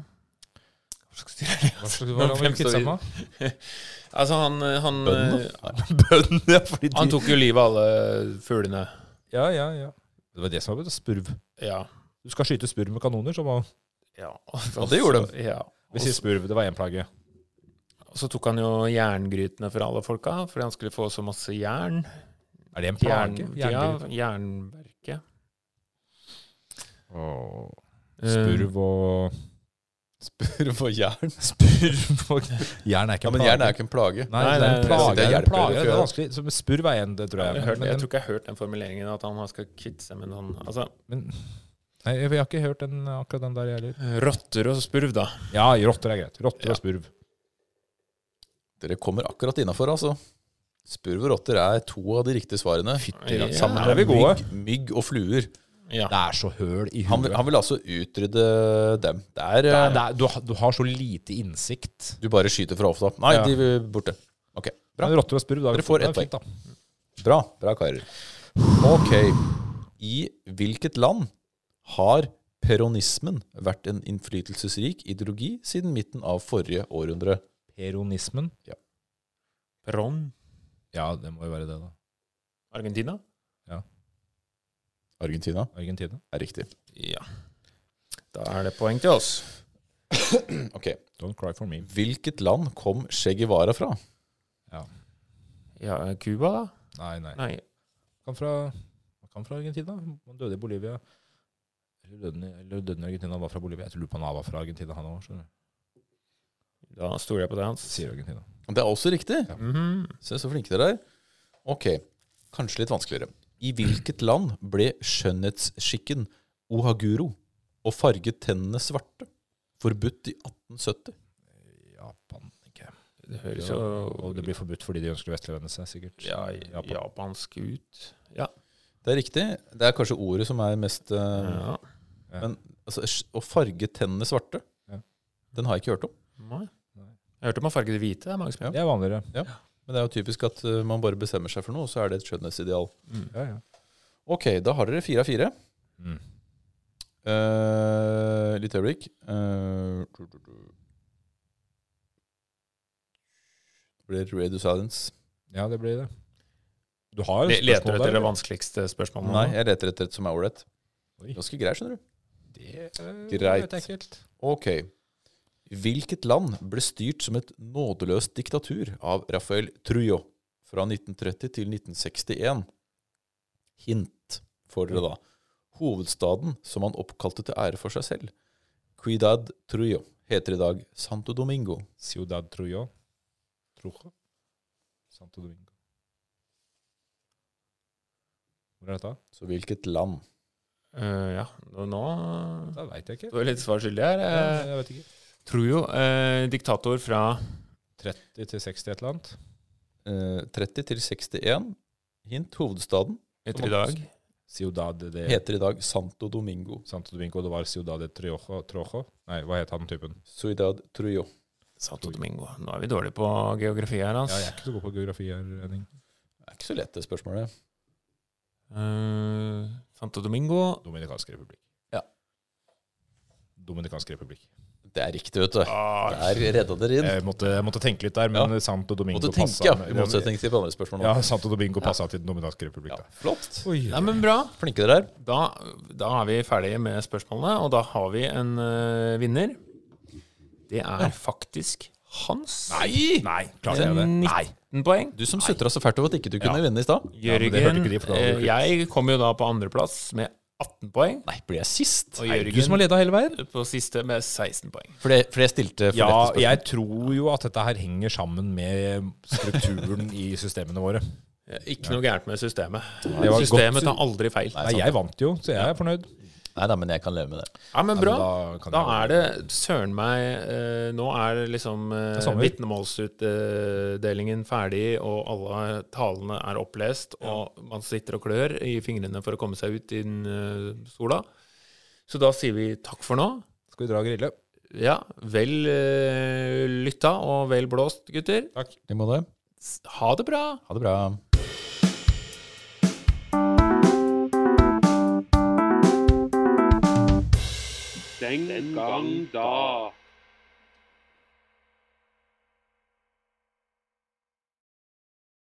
B: Hva slags dyr er det?
C: Hva slags- hva var det han ville kvitte seg med?
B: Altså, han, han,
D: Bøndene?
B: eh,
C: Bønnen, ja, fordi
B: han tok jo livet av alle fuglene.
C: Ja, ja, ja. Det var det som var spurv.
B: Ja.
C: Du skal skyte spurv med kanoner, så må
B: Ja,
D: Ja, det gjorde
B: de. Ja.
C: Vi sier spurv, det var én plage.
B: Og så tok han jo jerngrytene for alle folka, fordi han skulle få så masse jern.
C: Er det
B: Jern,
C: en plage?
B: ja,
C: Jerngryte?
B: jernverket.
C: Åh.
B: Eh,
C: Spurv og
D: Spurv og jern.
C: Spurv og Jern er ikke
D: Ja,
C: en
D: men
C: plage.
D: jern er jo ikke en plage.
C: Nei,
B: Nei,
C: det er
B: nei,
C: en plage.
D: det
C: Det er, en
D: hjelper
C: plage.
D: jo
C: Det er
D: ikke.
C: vanskelig. Så men Spurv er en, det tror jeg.
B: Eh, Jeg, har hørt,
C: men,
B: jeg tror ikke jeg har hørt den formuleringen at han skal kvitte seg med noen Altså,
C: men, nei, jeg har ikke hørt den, akkurat den der, jeg heller.
B: rotter og spurv, da.
C: Ja, rotter er greit. Rotter
B: Ja.
C: og spurv.
D: Dere kommer akkurat innafor, altså. Spurv og rotter er to av de riktige svarene.
B: Ja.
C: Ja, sammen
B: Her
C: er vi gode.
D: Mygg, mygg og fluer.
B: Ja.
C: Det er så høl i
D: Han
C: huet.
D: vil, han vil altså utrydde dem. Det er,
C: Det
D: eh,
C: er- det er- du, har- du har så lite innsikt.
D: Du bare skyter fra hofta. Nei,
C: Ja.
D: de vil borte. Ok, bra.
C: Men rotter og spurv, da.
D: Dere får
C: det er
D: ett
C: fint, da.
D: Bra, bra karer. Ok. I hvilket land har peronismen vært en innflytelsesrik ideologi siden midten av forrige århundre?
C: Peronismen.
B: Ron.
C: Ja, det må jo være det, da.
B: Argentina.
D: Argentina
C: Argentina.
D: er riktig.
B: Ja. Da er det poeng til oss.
D: Ok.
C: Don't cry for me.
D: Hvilket land kom Che Guevara fra?
B: Ja, eh, Cuba, da?
C: Nei, nei.
B: Nei.
C: Han fra, han kom fra Argentina. Han døde i Bolivia. Eller døde, han i- eller døde han i Argentina, han var fra Bolivia. Jeg lurer på han var fra Argentina, han òg.
B: Da stoler jeg på det hans.
C: Sier Argentina.
D: Det er også riktig.
B: Mhm.
D: Se, så flinke dere er. Ok, kanskje litt vanskeligere. I hvilket land ble skjønnhetsskikken ohaguro og farget tennene svarte forbudt i 1870?
C: Japan, ikke
B: Det høres
C: Ja,
B: jo
C: Og det blir forbudt fordi de ønsker å vestlevende seg, sikkert.
B: ja,
C: Japan.
B: japansk ut. Ja.
D: Det er riktig. Det er kanskje ordet som er mest eh,
B: ja.
D: altså, sj- Å farge tennene svarte,
C: Ja.
D: den har jeg ikke hørt om.
B: Nei.
C: Nei.
B: Jeg hørte om å farge det hvite. Det er mange som
C: Det er vanligere.
D: Men det er jo typisk at eh, man bare bestemmer seg for noe, og så er det et skjønnhetsideal.
B: Mm.
C: Ja, ja.
D: Ok, da har dere fire av fire.
C: Mm.
D: Eh, litt øyeblikk. Eh, du, du, du. Det blir Radio Silence.
C: ja, det blir det. Du har
B: Le- Leter du
C: spørsmål
B: etter
C: der,
B: det vanskeligste spørsmålet? nå?
D: Nei, jeg leter etter et som er ålreit.
C: Oi.
D: Ganske grei, skjønner du.
C: Det eh,
D: Greit.
C: vet jeg ikke helt.
D: Ok. Hvilket land ble styrt som et nådeløst diktatur av Rafael Trujillo fra 1930 til 1961? Hint får dere da. Hovedstaden som han oppkalte til ære for seg selv, Cuidad Trujillo, heter i dag Santo Domingo.
C: Ciudad Trujo. Trujo. Santo Domingo. Hvor er dette?
D: Så hvilket land?
B: Eh, ja, nå nå-
C: Det veit jeg ikke.
B: Du er litt svar skyldig her.
C: Ja,
B: Eh,
C: jeg vet ikke.
B: tror jo eh, diktator fra
C: 30 til 60 et eller annet.
D: Eh, 30 til 61. Hint hovedstaden
B: etter i dag.
C: Ciudad de
D: heter i dag Santo Domingo.
C: Santo Domingo. Det var Ciudad de Triojo. Trojo. Nei, hva het han typen?
D: Cuidad Trujillo.
B: Santo Domingo. Nå er vi dårlige på geografi her,
C: Ja,
B: altså.
C: jeg er ikke så god på geografi her, Henning.
D: Det er ikke så lett, det spørsmålet.
B: Eh, Santo Domingo.
C: Dominikansk republikk.
D: Ja. Dominikansk
C: Dominikansk republikk.
D: Det er riktig, vet du.
B: Ah,
D: Der redda dere inn.
C: Jeg måtte, jeg måtte tenke litt der, men Santo Domingo
D: Måtte tenke,
C: passet-
D: ja, i motsetning til de andre spørsmålene.
C: Ja, Santo Domingo passa til Dominikansk republikk.
D: Ja,
C: da.
D: flott.
B: Nei, men bra.
D: Flinke dere er.
B: Da, da er vi ferdige med spørsmålene, og da har vi en eh, vinner. Det er faktisk Hans.
D: Nei!
C: Nei, klarer jeg det? Nei.
B: 19 poeng.
D: Du som sutra så fælt over at ikke du kunne vinne i stad.
C: Ja, men det hørte
B: Jørgen,
C: ikke de, for da hadde
B: eh,
C: du klippet.
B: jeg kom jo da på andreplass med 18 poeng.
D: Nei, ble jeg sist?
B: Og
C: Er det du som har
B: Jørgen
C: leda hele veien?
B: på siste med 16 poeng.
D: Fordi fordi jeg stilte for
C: Ja,
D: lette spørsmål.
C: jeg tror jo at dette her henger sammen med strukturen i systemene våre.
B: Ikke noe gærent med systemet.
C: var et
B: systemet
C: godt-
B: tar aldri feil.
C: Nei, jeg vant jo, så jeg er fornøyd.
D: Nei, nei, men jeg kan leve med det.
B: Ja, men bra.
C: Nei, men da kan
B: Da
C: jeg-
B: er det søren meg eh, Nå er det liksom eh,
C: er sommer.
B: vitnemålsutdelingen ferdig, og alle talene er opplest, og man sitter og klør i fingrene for å komme seg ut i den eh, sola. Så da sier vi takk for nå.
C: Skal vi dra og grille?
B: Ja, vel eh, lytta og vel blåst, gutter.
D: I måte.
B: S- Ha det bra!
D: Ha det bra.
A: Den gang da.